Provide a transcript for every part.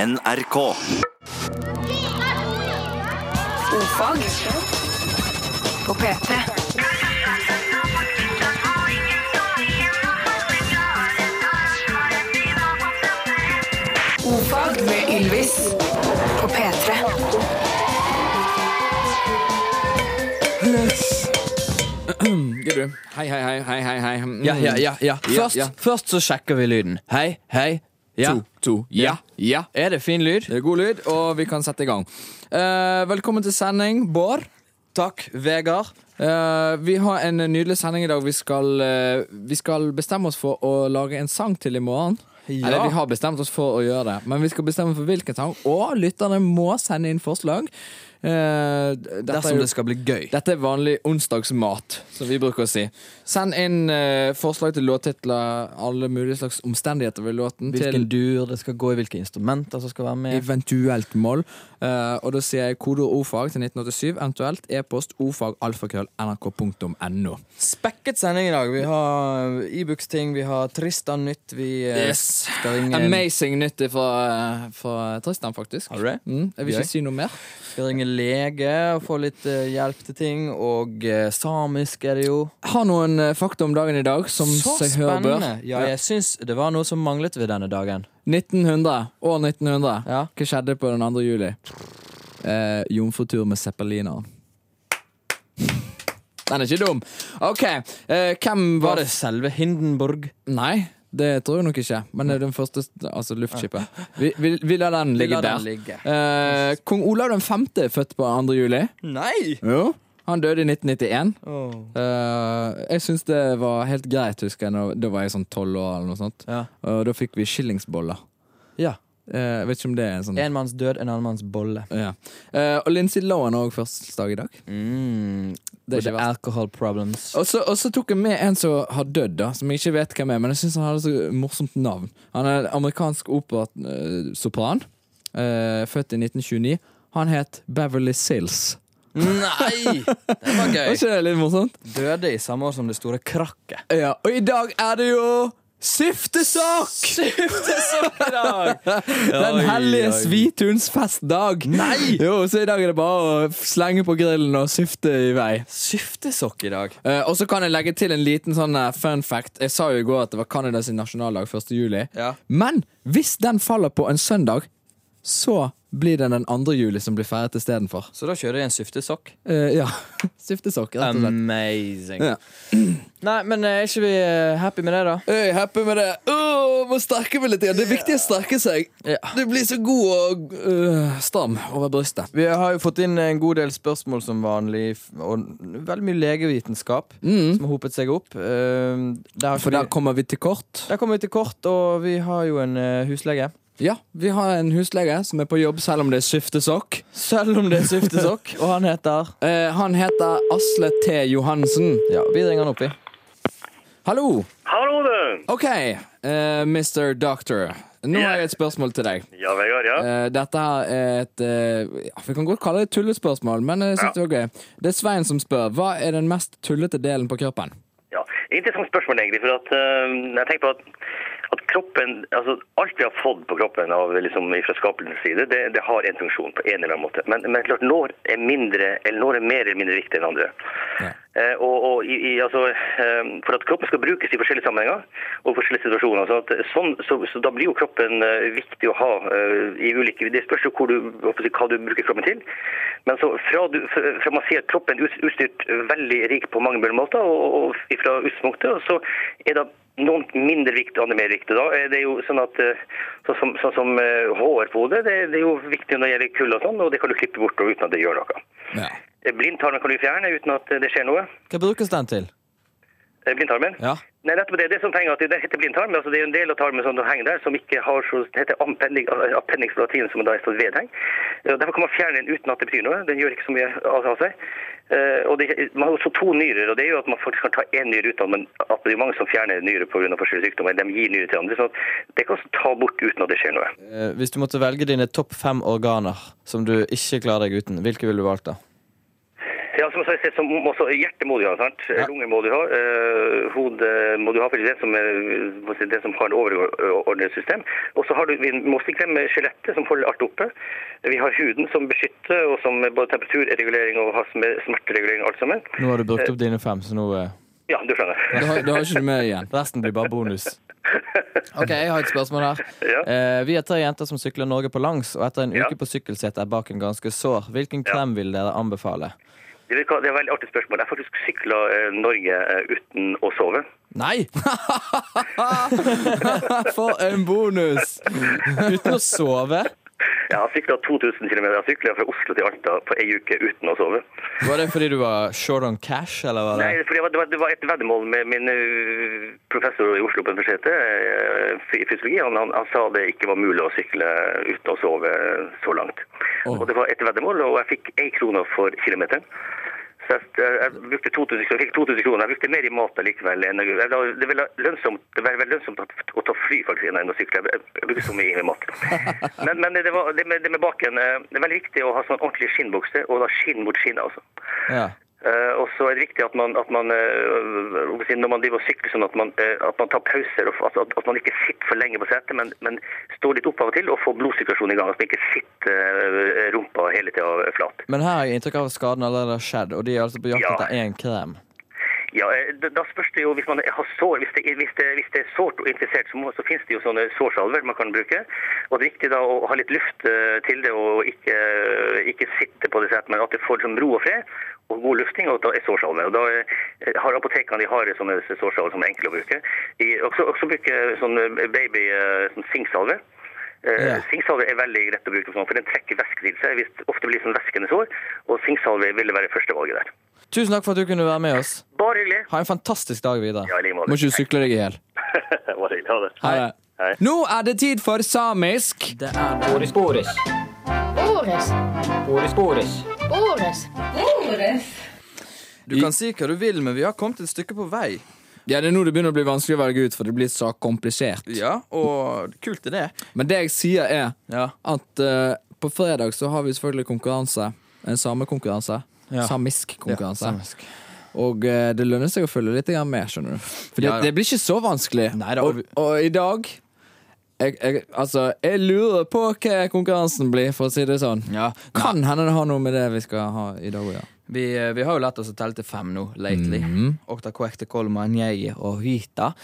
NRK. Ofag på P3. Ofag med Ylvis på P3. Gidder du? Hei, hei, hei, hei, hei, hei. Mm. Ja, ja, ja, ja. Først, ja. først så sjekker vi lyden. Hei, hei. Ja. To, to, ja, ja. Er det fin lyd? Det er god lyd, og vi kan sette i gang. Eh, velkommen til sending, Bård. Takk, Vegard. Eh, vi har en nydelig sending i dag. Vi skal, eh, vi skal bestemme oss for å lage en sang til i morgen. Ja. Eller vi har bestemt oss for å gjøre det, men vi skal bestemme for hvilken sang. Og lytterne må sende inn forslag. Eh, dette er Dersom jo- det skal bli gøy. Dette er vanlig onsdagsmat, som vi bruker å si. Send inn eh, forslag til låttitler, alle mulige slags omstendigheter ved låten, Hvilken til dur det skal gå i, hvilke instrumenter som skal være med. eventuelt mål. Eh, og da sier jeg kodeord ordfag til 1987, eventuelt e-post ordfag alfakrøll nrk.no. Spekket sending i dag. Vi har Ibux-ting, vi har Tristan nytt, vi eh, Yes. skal ringe Amazing nytt fra, fra Tristan, faktisk. Har du det? Mm, jeg vil Gøy. ikke si noe mer. Skal ringe lege og få litt eh, hjelp til ting. Og eh, samisk er det jo. Jeg har noen eh, fakta om dagen i dag som seg hør bør. Ja, jeg syns det var noe som manglet ved denne dagen. 1900. År 1900. Ja. Hva skjedde på den 2. juli? Eh, Jomfrutur med zeppeliner. Den er ikke dum. OK, eh, hvem var Var det selve Hindenburg? Nei, det tror jeg nok ikke. Men det er den første Altså luftskipet. Vi, vi, vi lar den ligge lar den der. ligge. Eh, Kong Olav 5. er født på 2. juli. Nei! Jo. Han døde i 1991. Åh. Eh, jeg syns det var helt greit, husker jeg. når- Da var jeg sånn tolv år, eller noe sånt. Ja. Og da fikk vi skillingsboller. ja. Eh, jeg vet ikke om det er en sånn En manns død, en annen manns bolle. Ja. Eh, og Lindsay Lohan har òg førstedag i dag. Mm. Det er ikke er alcohol problems. Og så, og så tok jeg med en som har dødd, da, som jeg ikke vet hvem er. Men jeg syns han hadde så morsomt navn. Han er amerikansk operasopran. Uh, født i 1929. Han het Beverly Sills. Nei! Det var Var gøy. ikke det litt morsomt? Døde i samme år som det store krakket. Ja, Og i dag er det jo Siftesak! Den hellige svitunsfestdag. Nei! Jo, så i dag er det bare å slenge på grillen og syfte i vei. Syftesokk i dag. Eh, og så kan jeg legge til en liten sånn eh, fun fact. Jeg sa jo i går at det var Canadas nasjonaldag 1. juli. Ja. Men hvis den faller på en søndag, så blir det den 2. juli som blir feiret istedenfor. Så da kjører jeg en syftesokk. Uh, ja. Um. Stiftesokk, rett og slett. Amazing. Ja. Nei, men eh, er ikke vi eh, happy med det, da? Jeg er happy med det. Åh, må sterke meg litt. igjen. Det er viktig å sterke seg. Ja. Du blir så god og øh, stram over brystet. Vi har jo fått inn en god del spørsmål som vanlig, f- og veldig mye legevitenskap som har hopet seg opp. Eh, der Mm. har ikke For der vi- kommer vi til kort. der kommer vi til kort, og vi har jo en eh, huslege. Ja, Vi har en huslege som er på jobb selv om det er skiftesokk. Selv om det er syftesokk, og han heter Eh, han heter Asle T. Johansen. Ja, vi ringer han opp i. Hallo! Hallo, du! OK, eh, Mr. Doctor. Nå har jeg et spørsmål til deg. Ja, Vegard, ja. Eh, dette her er et eh, ja, Vi kan godt kalle det et tullespørsmål, men jeg synes det var gøy. Det er Svein som spør. Hva er den mest tullete delen på kroppen? ja. Interessant spørsmål, egentlig. For at, eh, jeg tenker på at, at kroppen altså Alt vi har fått på kroppen av, liksom, fra skapelsens side, det, det har en funksjon på en eller annen måte. Men, men klart, noe er, mindre, eller noe er mer eller mindre viktig enn andre. Ja. Eh, og, og i, i, altså, eh, For at kroppen skal brukes i forskjellige sammenhenger og forskjellige situasjoner. Så, at, sånn, så, så da blir jo kroppen eh, viktig å ha eh, i ulike Det spørs jo hvor du, hva skal jeg si, hva du bruker kroppen til. Men så fra, du, fra fra man sier at kroppen er ut- utstyrt veldig rik på mange mulige måter, og, og fra utgangspunktet, så er det noen mindre viktig, andre mer viktig. Da er det jo sånn at eh, sånn som, sånn som eh, hår på hodet, det, det er jo viktig når det gjelder kull og sånn, og det kan du klippe bort og uten at det gjør noe. Ja. Eh, Blindtarmen kan du fjerne uten at eh, det skjer noe. Hva brukes den til? Eh, Blindtarmen? Ja. Nei, nettopp det. Det som henger, at det heter blindtarm. Altså, det er jo en del av tarmen som henger der, som ikke har så Det heter appendix, appendix på latin, som da er sånn vedheng. Eh, Derfor kan man fjerne den uten at det betyr noe. Den gjør ikke så mye av av seg. Eh, og det, man har også to nyrer, og det gjør at man faktisk kan ta én nyre ut av den, men at det er mange som fjerner nyrer pga. forskjellige sykdommer. De gir nyrer til andre. Så det kan også ta bort uten at det skjer noe. Eh, Hvis du måtte velge dine topp fem organer som du ikke klarer deg uten, hvilke ville du valgt da? Ja, altså, som jeg sier, så må- må også hjertet må du ha, sant? Lunger må du ha, øh, hodet må du ha, for det er det som, er- må si, det som har et overordnet system. Og så har du, vi må ikke glemme skjelettet, som holder alt oppe. Vi har huden, som beskytter, og som er både temperaturregulering og har sm- smerteregulering og alt sammen. Nå har du brukt opp dine fem, så nå eh, Ja, du skjønner. Da har, da har ikke du med igjen. Resten blir bare bonus. Ok, Jeg har et spørsmål her. Ja. Eh, vi er tre jenter som sykler Norge på langs, og etter en Ja. uke på sykkelsett er baken ganske sår. Hvilken krem vil dere anbefale? Det er det er et veldig artig spørsmål. Jeg har faktisk sykla eh, Norge eh, uten å sove. Nei! For en bonus! Uten å sove. Jeg har sykla 2000 km. Jeg har sykla fra Oslo til Alta på ei uke uten å sove. Var det fordi du var short on cash, eller var det Nei, for det var, det var- det var et veddemål med min eh, professor i Oslo på universitetet eh, i fysiologi. Han, han, han sa det ikke var mulig å sykle uten å sove så langt. Åh. Og det var et veddemål, og jeg fikk én krone for kilometeren. Så jeg, jeg, jeg brukte 2000, kroner- jeg fikk 2000 kroner. Jeg brukte mer i mat likevel. Enn, jeg- jeg, la- det var lønnsomt, det var veldig lønnsomt å, å ta fly faktisk enn å sykle. Jeg- Jeg, jeg brukte så mye i mat. Men, men det, var, det, med, det med baken eh, Det er veldig viktig å ha sånn ordentlig skinnbukse, og da skinn mot skinn, altså. ja. Eh, og så er det viktig at man, at man eh, hva skal jeg si, når man driver og sykler sånn, at man, eh, at man tar pauser, og f- at, at, at man ikke sitter for lenge på setet, men, men står litt opp av og til og får blodsirkulasjonen i gang. At man ikke sitter eh, rumpa hele tida flat. Men her har jeg inntrykk av at skaden allerede har skjedd, og de er altså på jakt Ja. etter én krem. Ja, eh, da- Da spørs det jo hvis man har sår. Hvis det, hvis det, hvis det er sårt og infisert, så, må, så finnes det jo sånne sårsalver man kan bruke. Og det er viktig da å ha litt luft eh, til det, og ikke, eh, ikke sitte på det setet, men at det får liksom ro og fred. Og god lufting, og da er sårsalve. Og da eh, har apotekene de har sånne sårsalver som er enkle å bruke. De også, også bruker sånn eh, baby eh, sånn sinksalve. Eh, Ja. Sinksalve er veldig greit å bruke, for sånn, for den trekker væske til seg. Hvis det ofte blir sånn væskende sår, og sinksalve ville være førstevalget der. Tusen takk for at du kunne være med oss. Bare hyggelig. Ha en fantastisk dag videre. Ja, i like måte. Må ikke du sykle deg i hjel. Bare hyggelig. Ha det. Ha det. Hei. Nå er det tid for samisk. Det er Boris, Boris. Boris, Boris, Boris. Boris, Du kan si hva du vil, men vi har kommet et stykke på vei. Ja, Det er nå det begynner å bli vanskelig å velge ut, for det blir så komplisert. Ja, og kult er det. Men det jeg sier, er Ja. at eh, på fredag så har vi selvfølgelig konkurranse. En samekonkurranse. Ja. Samisk konkurranse. samisk. Og eh, det lønner seg å følge litt grann med, skjønner du. For det, Ja, ja. det blir ikke så vanskelig. Neida, og og, vi- og i dag jeg, jeg, altså, jeg lurer på hva konkurransen blir, for å si det sånn. Ja. Kan hende det har noe med det vi skal ha i dag å gjøre. Vi, eh, vi har jo lært oss å telle til fem nå, lately. Okta Kwekte Kolma, Njei og Hvita.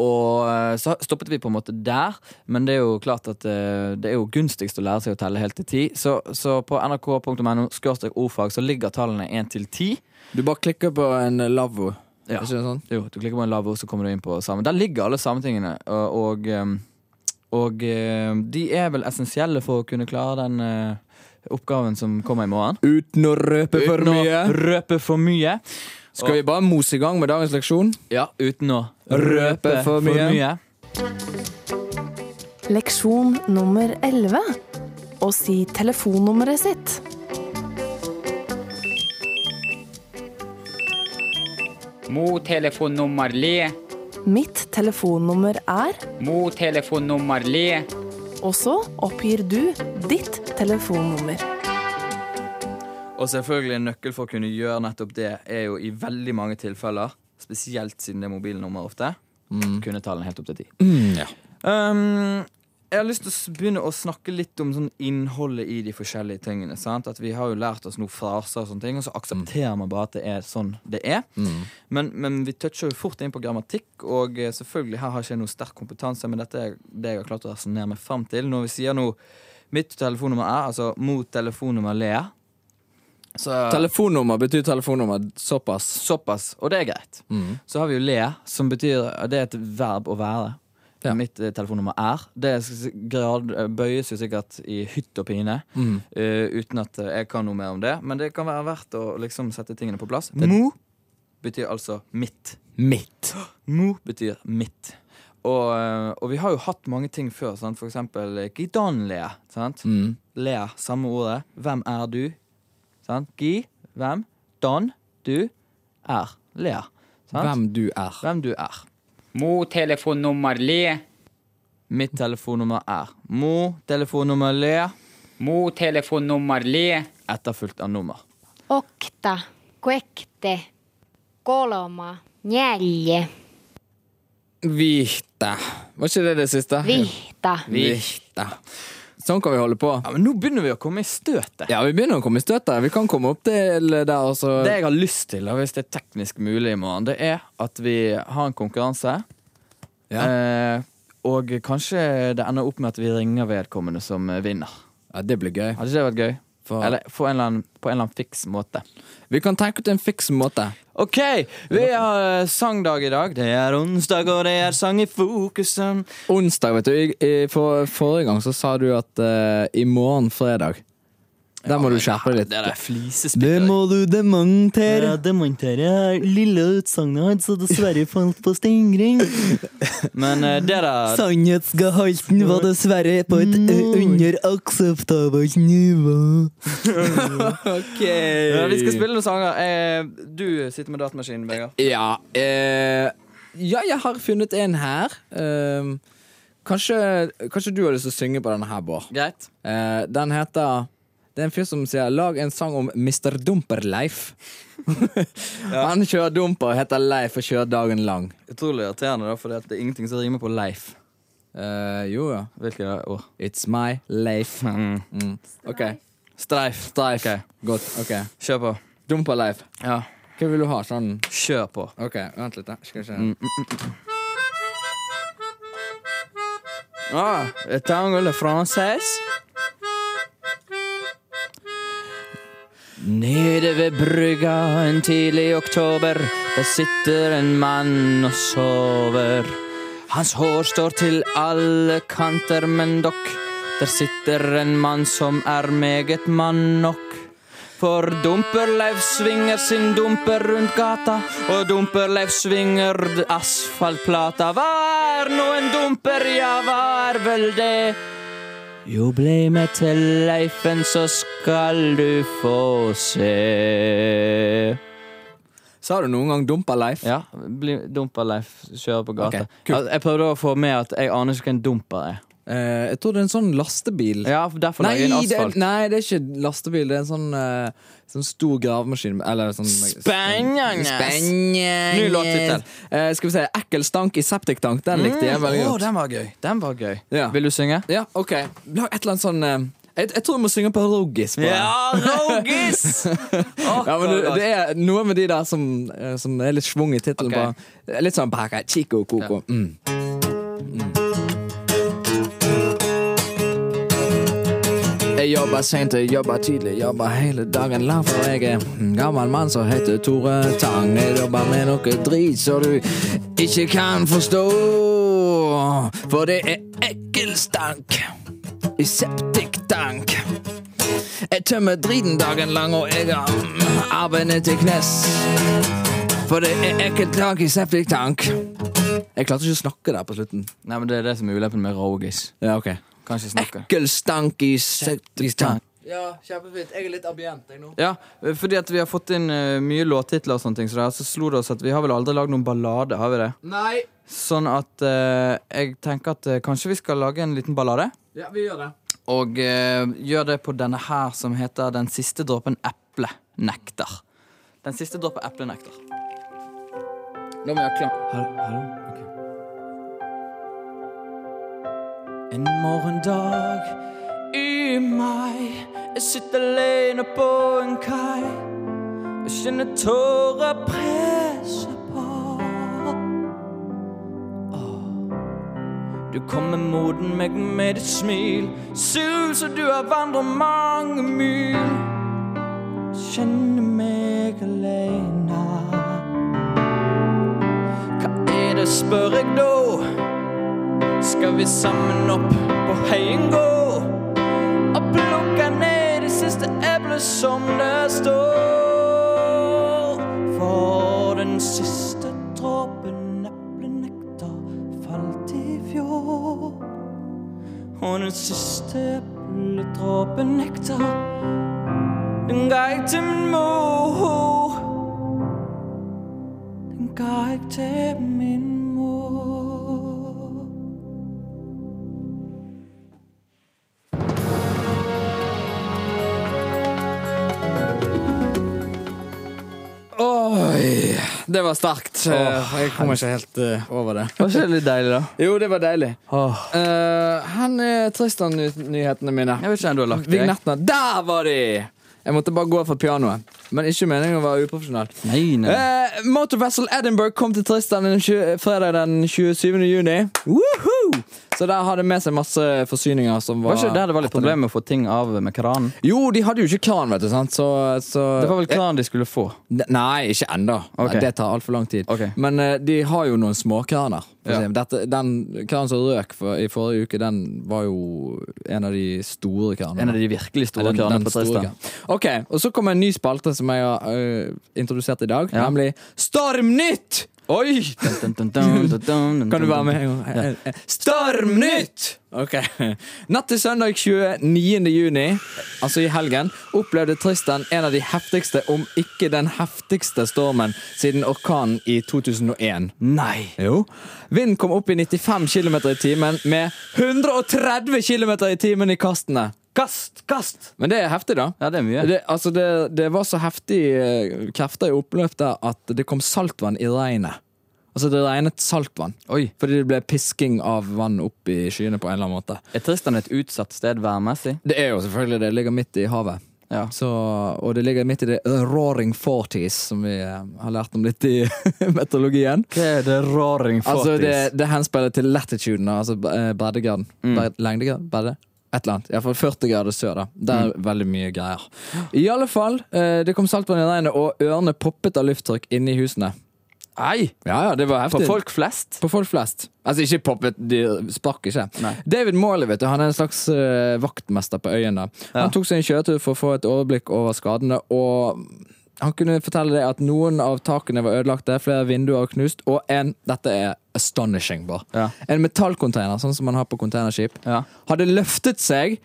Og eh, så stoppet vi på en måte der, men det er jo klart at eh, det er jo gunstigst å lære seg å telle helt til ti. Så, så på nrk.no skråstrek ordfag så ligger tallene én til ti. Du bare klikker på en lavvo. Ja. Er ikke det sånn? Jo, du klikker på en lav ord, så kommer du inn på samen. Der ligger alle sametingene, og, og, ehm, og ehm, de er vel essensielle for å kunne klare den eh, oppgaven som kommer i morgen. Uten å røpe for Uten å mye. røpe for mye. Skal vi bare mose i gang med dagens leksjon? Ja, uten å Røpe røpe for for mye. mye. Leksjon nummer 11. Å si telefonnummeret sitt. Mo telefonnummer le. Mitt telefonnummer er Mo telefonnummer le. Og så oppgir du ditt telefonnummer. Og selvfølgelig en nøkkel for å kunne gjøre nettopp det er jo i veldig mange tilfeller, spesielt siden det er mobilnummer ofte, kunne tallene helt opp til ti. Mm, Um, jeg har lyst til å s- begynne å snakke litt om sånn innholdet i de forskjellige tingene. sant? At Vi har jo lært oss noen fraser, og sånne ting, og så aksepterer man bare at det er sånn det er. Men, men vi toucher jo fort inn på grammatikk, og eh, selvfølgelig her har ikke jeg noe sterk kompetanse, men dette er det jeg har klart å resonnere meg fram til. Når vi sier nå mitt telefonnummer er, altså mot telefonnummer Lea så, Telefonnummer betyr telefonnummer. Såpass. Såpass, og det er greit. Så har vi jo le, som betyr Det er et verb å være. Ja. Mitt eh, telefonnummer er. Det er s- grad, eh, bøyes jo sikkert i hytt og pine, Mm. eh, uten at eh, jeg kan noe mer om det. Men det kan være verdt å liksom sette tingene på plass. Mo betyr altså mitt. Mitt. Mo betyr mitt. Og, eh, og vi har jo hatt mange ting før, sant? for eksempel eh, gidanle. Sant? Mm. Le, samme ordet. Hvem er du? Sant? Gi, hvem? Dan, du, er. Le. Sant? Hvem du er. Hvem du er. Mo telefonnummer le. Mitt telefonnummer er Mo, telefonnummer le, Mo telefonnummer le. etterfulgt av nummer. Okta, Kuekte. Koloma. Neljä. Vita. Var ikke det det siste? Vihta. Vita. Sånn kan vi holde på. Ja, men nå begynner vi å komme i støtet. Ja, vi begynner å komme i støtet. Vi kan komme opp til der, altså. og så Det jeg har lyst til, da, hvis det er teknisk mulig, i morgen, det er at vi har en konkurranse. Ja. Eh, og kanskje det ender opp med at vi ringer vedkommende som eh, vinner. Ja, det blir gøy. Hadde ikke det vært gøy? For- Eller på en, eller annen, på en eller annen fiks måte. Vi kan tenke ut en fiks måte. OK, vi har eh, sangdag i dag. Det er onsdag, og det er sang i fokusen. Onsdag, vet du. I, i, for, forrige gang så sa du at eh, i morgen fredag Der må du skjerpe deg litt. Det er det Det flisespillet. må du demontere. demonterer lille utsagnet hans, og dessverre falt på stingring. Men eh, det der Sannhetsgehalten var dessverre på et eh, under akseptabelt nivå. Ja, Vi skal spille noen sanger. Eh, du sitter med datamaskinen, Vegard. Ja, eh, ja, jeg har funnet en her. Eh, kanskje, kanskje du har lyst til å synge på denne her, Bård. Greit. Eh, den heter Det er en fyr som sier 'Lag en sang om Mr. Dumper-Leif'. Han kjører dumper, heter Leif og kjører dagen lang. Utrolig irriterende, da, for det er ingenting som rimer på Leif. Eh, jo, ja. Hvilket år? It's my Leif. Mm. OK. Streif. Streif. Godt. ok Kjør på. Dumper-Leif. Ja, Hva vil du ha? Sånn kjør på. Mm, OK, vent litt. da Skal jeg Ah, tango le français. Nede ved brygga en tidlig oktober, der sitter en mann og sover. Hans hår står til alle kanter, men dokk, der sitter en mann som er meget mann nok. For Dumperleif svinger sin dumper rundt gata, og Dumperleif svinger d- asfaltplata. Hva er nå en dumper, ja, hva er vel det? Jo, bli med til Leifen, så skal du få se. Sa du noen gang Dumper-Leif? Ja, bli Dumperleif kjører på gata. Ok, kult. Al- Jeg prøvde å få med at jeg aner ikke hva en dumper er. Eh, jeg tror det er en sånn lastebil. Ja, for derfor Nei lager jeg en det, er, asfalt. nei, det er ikke lastebil. Det er en sånn, eh, sånn stor gravemaskin. Eller sånn Spennende. Spennende. Ny låttittel. Mm, Eh, skal vi se. Ekkel stank i septiktank. Den likte jeg veldig Å, godt. den var gøy. Den var gøy. Ja. Vil du synge? Ja, ok. Lag et eller annet sånn eh, jeg, jeg tror jeg må synge på rogis. på den. Rogis! Ja, men det, det er noe med de der som, eh, som er litt schwung i tittelen. Ok. på. Litt sånn baka, chico, coco. Mm. Jeg jobber sent, jeg jobber tidlig, jobber hele dagen lang, for jeg er en gammel mann som heter Tore Tang. Jeg jobber med noe drit som du ikke kan forstå, for det er ekkel stank i septiktank. Jeg tømmer driten dagen lang, og jeg har mm, arvene til knes. For det er ekkelt tak i septiktank. Jeg klarte ikke å snakke der på slutten. Nei, men det er det som er ulempen med rogis. Ja, ok. Kan ikke snakke. Ekkel stank i septiktank. Ja, kjempefint. Jeg er litt abient, jeg nå. Ja, fordi at vi har fått inn eh, mye låttitler og sånne ting, så, det, her, så slo det oss at vi har vel aldri lagd noen ballade, har vi det? Nei. Sånn at eh, jeg tenker at eh, kanskje vi skal lage en liten ballade, Ja, vi gjør det. og eh, gjør det på denne her som heter Den siste dråpen eplenektar. Den siste dråpen eplenektar. Nå må jeg klare En morgendag i mai Jeg sitter alene på en kai Jeg kjenner tårer presse på Åh. Du kommer mot meg med et smil Sus og du har vandret mange mil Kjenner meg alene Hva er det spør jeg da? skal vi sammen opp på heien gå og plukke ned de siste eplene som det står. For den siste dråpen eplenektar falt i fjor. Og den siste epledråpen nektar den ga jeg til min mor. Den ga jeg til min mor. det var sterkt. Eh, jeg kommer ikke helt eh, over det. Var ikke det litt deilig, da? Jo, det var deilig. Eh, han er Tristan-nyhetene mine. Jeg vet ikke om du har lagt deg. Vignettene. Der var de! Jeg måtte bare gå for pianoet. Men ikke meningen å være uprofesjonell. Nei, nei. Eh, Motor Vessel Edinburgh kom til Tristan den tjue- fredag den 27. juni. Woohoo! Så der hadde med seg masse forsyninger som var Var ikke det der det var litt problem med å få ting av med kranen? Jo, de hadde jo ikke kran, vet du. sant? Så, så Det var vel kranen de skulle få. Ne- Nei, ikke ennå. Ok. Det tar altfor lang tid. Ok. Men eh, de har jo noen småkraner. For Ja. eksempel. Dette, den kranen som røk for, i forrige uke, den var jo en av de store kranene. En av de virkelig Ja, store den- kranene den på store Tristan. kranen. Ok, og så kommer en ny spalte som jeg har eh, introdusert i dag, Ja. nemlig Stormnytt! Oi! Dun, dun, dun, dun, dun, dun, Kan du være dun, med? en gang? Eh, Stormnytt! Ok. Natt til søndag 29. juni, altså i helgen, opplevde Tristan en av de heftigste, om ikke den heftigste, stormen siden orkanen i 2001. dun. Nei! Jo. Vinden kom opp i 95 km i timen med 130 km i timen i kastene. Kast! Kast! Men det er heftig, da. Ja, det er mye. Det, altså det, det var så heftig eh, krefter i oppløp der at det kom saltvann i regnet. Altså Det regnet saltvann. Oi. Fordi det ble pisking av vann opp i skyene på en eller annen måte. Er Tristan et utsatt sted værmessig? Det er jo selvfølgelig det. Det ligger midt i havet. Ja. Så, og det ligger midt i det roaring forties, som vi eh, har lært om litt i meteorologien. Hva er det roaring Altså det, det, det henspiller til latituden, altså eh, breddegraden. Bred, lengdegrad? Bredde? Et eller annet. Iallfall 40 grader sør. da Det er veldig mye greier. I alle fall, eh, det kom saltvann i regnet, og ørene poppet av lufttrykk inne i husene. Nei! Ja, ja, det var På heftig. folk flest? På folk flest. Altså ikke poppet, de sprakk ikke. David Morley vet du, han er en slags eh, vaktmester på øyen. da Han tok seg en kjøretur for å få et overblikk over skadene. Og han kunne fortelle deg at noen av takene var ødelagte, flere vinduer var knust, og en dette er astonishing bare, Ja. en metallcontainer, sånn som man har på containerskip, Ja. hadde løftet seg,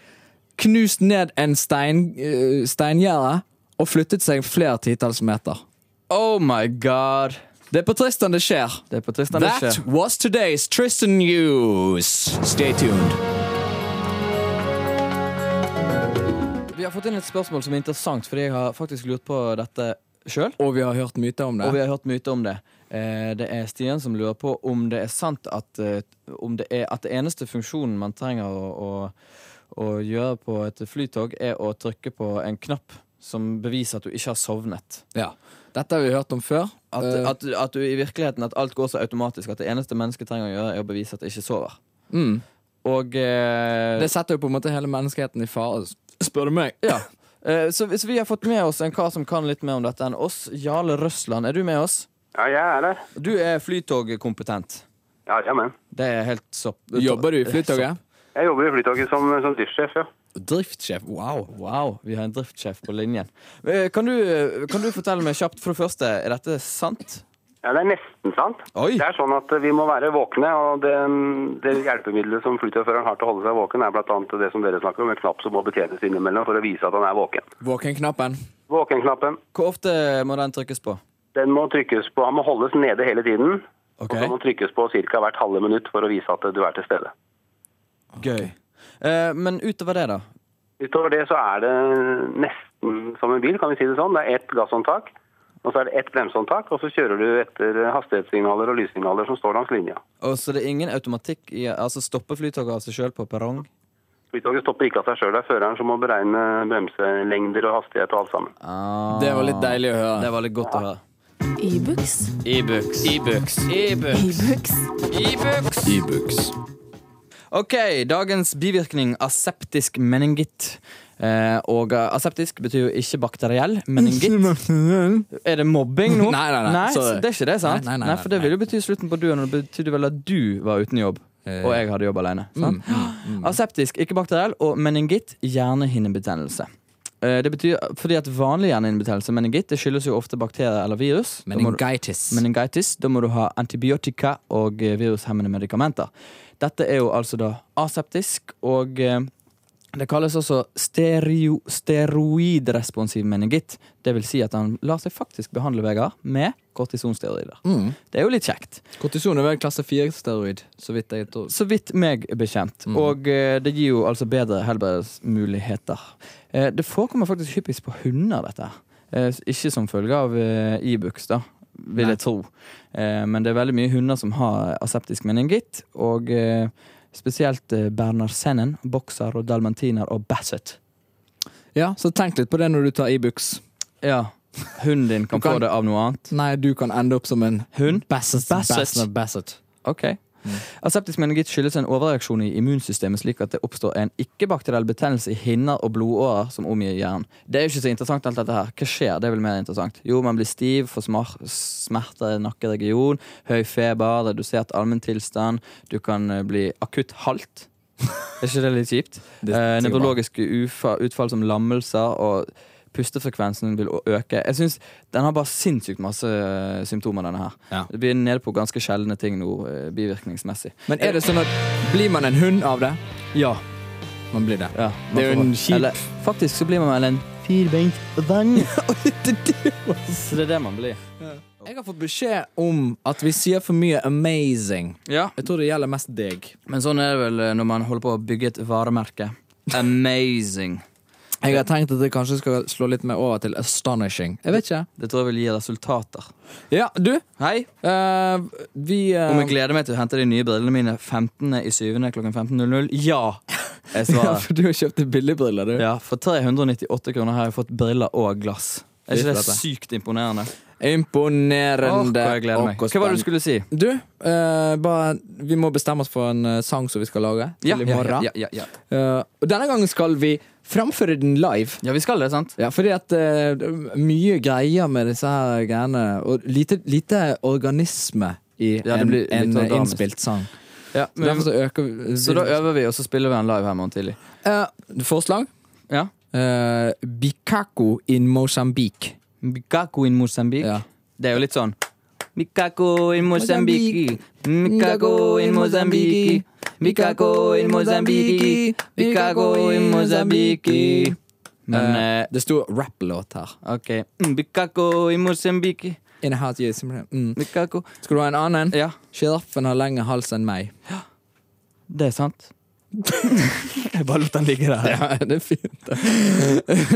knust ned en stein, eh, steingjerde og flyttet seg flere titalls meter. Oh my god! Det er på Tristan det skjer. Det er på Tristan det That skjer. was today's Tristan News. Stay tuned. Vi har fått inn et spørsmål som er interessant, fordi jeg har faktisk lurt på dette sjøl. Og vi har hørt myter om Og vi har hørt myter om det. Eh, det er Stian som lurer på om det er sant at, eh, om det, er, at det eneste funksjonen man trenger å, å, å gjøre på et flytog, er å trykke på en knapp som beviser at du ikke har sovnet. Ja. Dette har vi hørt om før. At, Eh, at, at du i virkeligheten at alt går så automatisk at det eneste mennesket trenger å gjøre, er å bevise at det ikke sover. mm. Og eh, Det setter jo på en måte hele menneskeheten i fare, spør du meg. ja. Eh, så hvis vi har fått med oss en kar som kan litt mer om dette enn oss, Jarle Røsland, er du med oss? Ja, jeg er der. Du er flytogkompetent. Ja, jamen. Det er helt sopp. Jobber du i Flytoget? Jeg jobber i Flytoget som, som driftssjef, ja. Driftssjef. Wow. Wow, vi har en driftssjef på linjen. Eh, Kan du, kan du fortelle meg kjapt, for det første, er dette ja. sant? Det er nesten sant. Oi. Det er sånn at vi må være våkne, og det, det hjelpemiddelet som flytogføreren har til å holde seg våken, er blant annet det som dere snakker om, en knapp som må betjenes innimellom for å vise at han er våken. Våkenknappen. Våkenknappen, Hvor ofte må den trykkes på? den må trykkes på, han må holdes nede hele tiden, Ok, og så må den trykkes på ca. hvert halve minutt for å vise at du er til stede. Gøy. Eh, Men utover det, da? Utover det så er det nesten som en bil, kan vi si det sånn. Det er ett gasshåndtak, og så er det ett bremsehåndtak, og så kjører du etter hastighetssignaler og lyssignaler som står langs linja. Og så det er ingen automatikk i Altså stopper flytoget av seg sjøl på perrong? Flytoget stopper ikke av seg sjøl. Det er føreren som må beregne bremselengder og hastighet og alt sammen. Ah, Det var litt deilig å høre. det var litt godt å høre. Ibux. E-books. E-books. Ibux. E-books. Ok, dagens bivirkning aseptisk meningitt. Eh, og eh, aseptisk betyr jo ikke bakteriell. Meningitt Er det mobbing nå? Nei, nei, nei, sorry. Det er ikke det, sant? Nei, nei, nei, For det nei. Eh. ville jo bety slutten på duen, og det betydde vel at du var uten jobb. Og jeg hadde jobb alene. Mm, Sant? Aseptisk, ikke bakteriell, og meningitt, hjernehinnebetennelse. Eh, Det betyr, fordi at Vanlig hjernehinnebetennelse, meningitt, det skyldes jo ofte bakterier eller virus. Da må du- Meningitis. meningitis, da må du ha antibiotika og eh, virushemmende medikamenter. Dette er jo altså da aseptisk, og eh, det kalles også stereo, steroidresponsiv meningitt. Det vil si at han lar seg faktisk behandle Vegard med kortisonsteroider. Mm. Det er jo litt kjekt. Kortison er vel klasse 4-steroid, så vidt jeg tror. Så vidt meg bekjent. Mm. Og eh, det gir jo altså bedre helbredsmuligheter. Eh, det forekommer faktisk hyppigst på hunder, dette. her. Eh, ikke som følge av eh, Ibux, da. vil jeg tro. Eh, men det er veldig mye hunder som har aseptisk meningitt, og eh, spesielt eh, bernersennen, bokser og dalmantiner og basset. Ja, så tenk litt på det når du tar Ibux. Ja, hunden din kan, Du kan- få det av noe annet. Nei, du kan ende opp som en Hund? Basset. Basset. Basset. Basset. Ok. Aseptisk meningitt skyldes en overreaksjon i immunsystemet slik at det oppstår en ikke-bakteriell betennelse i hinner og blodårer som omgir hjernen. Det er jo ikke så interessant alt dette her. Hva skjer? Det er vel mer interessant. Jo, man blir stiv, får smar- smerter i nakkeregion, høy feber, redusert allmenntilstand, du kan eh, bli akutt halt. Er ikke det litt kjipt? Det sikkert Eh, bra. nevrologiske ufa- utfall som lammelser og pustefrekvensen vil å- øke. Jeg synes Den har bare sinnssykt masse eh, symptomer, denne her. Ja. Vi er nede på ganske sjeldne ting nå, eh, bivirkningsmessig. Men er det sånn at blir man en hund av det? Ja. Man blir det. man Det er jo får- en kjip- Eller, faktisk så blir man vel en Firbeint vann. Så det er det man blir. Jeg har fått beskjed om at vi sier for mye amazing. Ja, Jeg tror det gjelder mest deg. Men sånn er det vel eh, når man holder på å bygge et varemerke. Amazing. Jeg har tenkt at det kanskje skal slå litt mer over til astonishing. Jeg vet ikke. Det tror jeg vil gi resultater. Ja, du. Hei! eh, vi eh, Om jeg gleder meg til å hente de nye brillene mine 15. i 7. klokken 15.00? Ja! Jeg ja, svarer. for du har kjøpt billigbriller, du. Ja, for 398 kroner har jeg fått briller og glass. Er ikke det Fy flate. sykt imponerende? Åh, Imponerende. hvor jeg gleder meg. og Hva var spenn- det du skulle si? Du, eh, bare, vi må bestemme oss for en eh, sang som vi skal lage til i ja, morgen. ja, ja, ja. Eh, og denne gangen skal vi framføre den live. ja, vi skal det, sant? Ja, fordi at eh, mye greier med disse her greiene Og lite, lite organisme i Ja, det en, blir litt en organisk. innspilt sang. Ja, Så derfor men, så øker vi så da øver vi, og så spiller vi en live her i morgen tidlig. Eh, Forslag? Ja. Eh, Bikako in Mosambik. Mikako in Mosambik. Ja. Det er jo litt sånn Mikako in Mosambiki. Mikako in Mosambiki. Mikako in Mosambiki. Mikako in Mosambiki. Men Eh, eh, det sto rapplåt her. OK. Mm, Mikako in Mosambiki. In a hot year, mm. Mikako Skal du ha en annen? Ja, Sjiraffen har lengre hals enn meg. det er sant. Jeg bare lot den ligge der. Ja, det er fint.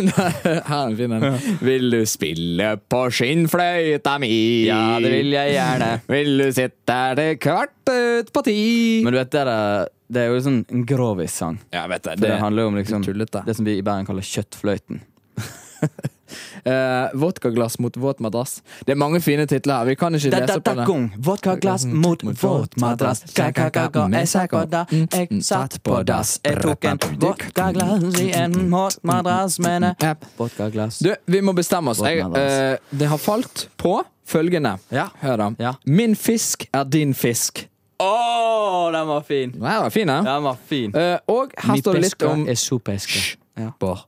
Nei, Her er en fin en. Vil du spille på skinnfløyta mi? Ja, det vil jeg gjerne. Vil du sitte der til kvart ut på ti? Men du vet, det er, det er jo sånn en grovis-sang. ja, vet du, For det, handler jo om liksom, det er tullete. det som vi i Bergen kaller kjøttfløyten. Eh, vodkaglass mot våt madrass. Det er mange fine titler her. Vi kan ikke lese på det. Vodkaglass mot våtmadrass. Ka-ka-ka-ka, jeg satt på da. Jeg satt på dass. Mm. Jeg tok en vodkaglass i en våtmadrass, mener Ja. Vodkaglass. Du, vi må bestemme oss. Jeg, Våtmadrass. eh, det har falt på følgende. Ja. Hør, da. Ja. Min fisk er din fisk. Å, den var fin! Den var fin, den. Den var fin. Eh, og her står det litt om sopeska. Ja. Bård.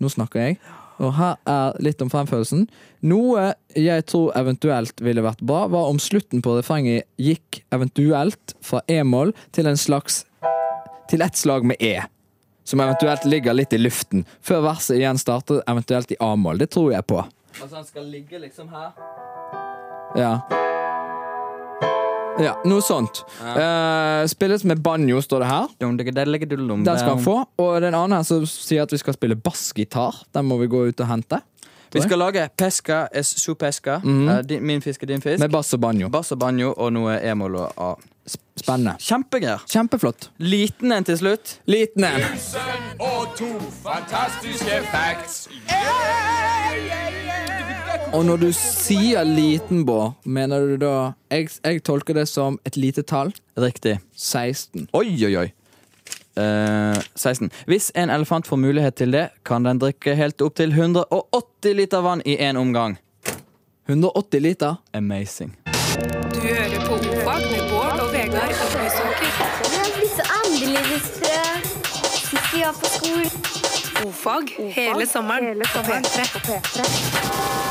Nå snakker jeg. Og her er litt om fremførelsen. Noe jeg tror eventuelt ville vært bra, var om slutten på refrenget gikk eventuelt fra e-moll til en slags Til ett slag med e. Som eventuelt ligger litt i luften, før verset igjen starter eventuelt i a-moll. Det tror jeg på. Altså, han skal ligge liksom her. Ja. Ja, noe sånt. Eh, spilles med banjo, står det her. Den skal han få. Og den andre her som sier at vi skal spille bassgitar. Den må vi gå ut og hente. Vi skal lage pesca es sopeska. Eh, din- Min fisk er din Mhm. fisk. Med bass og banjo. Bass og banjo og noe e-moll og a. Spennende. Kjempegreier. Kjempeflott. Liten en til slutt. Liten en. Og når du sier liten, Bård, mener du da jeg, jeg tolker det som et lite tall. Riktig. 16. Oi, oi, oi. Eh, 16. Hvis en elefant får mulighet til det, kan den drikke helt opp til 180 liter vann i én omgang. 180 liter. Amazing. Du hører på Ofag med Bård og Vegard i Høysåker. Det er blitt så annerledes fra sist vi var på skolen. Ofag hele sommeren på P3.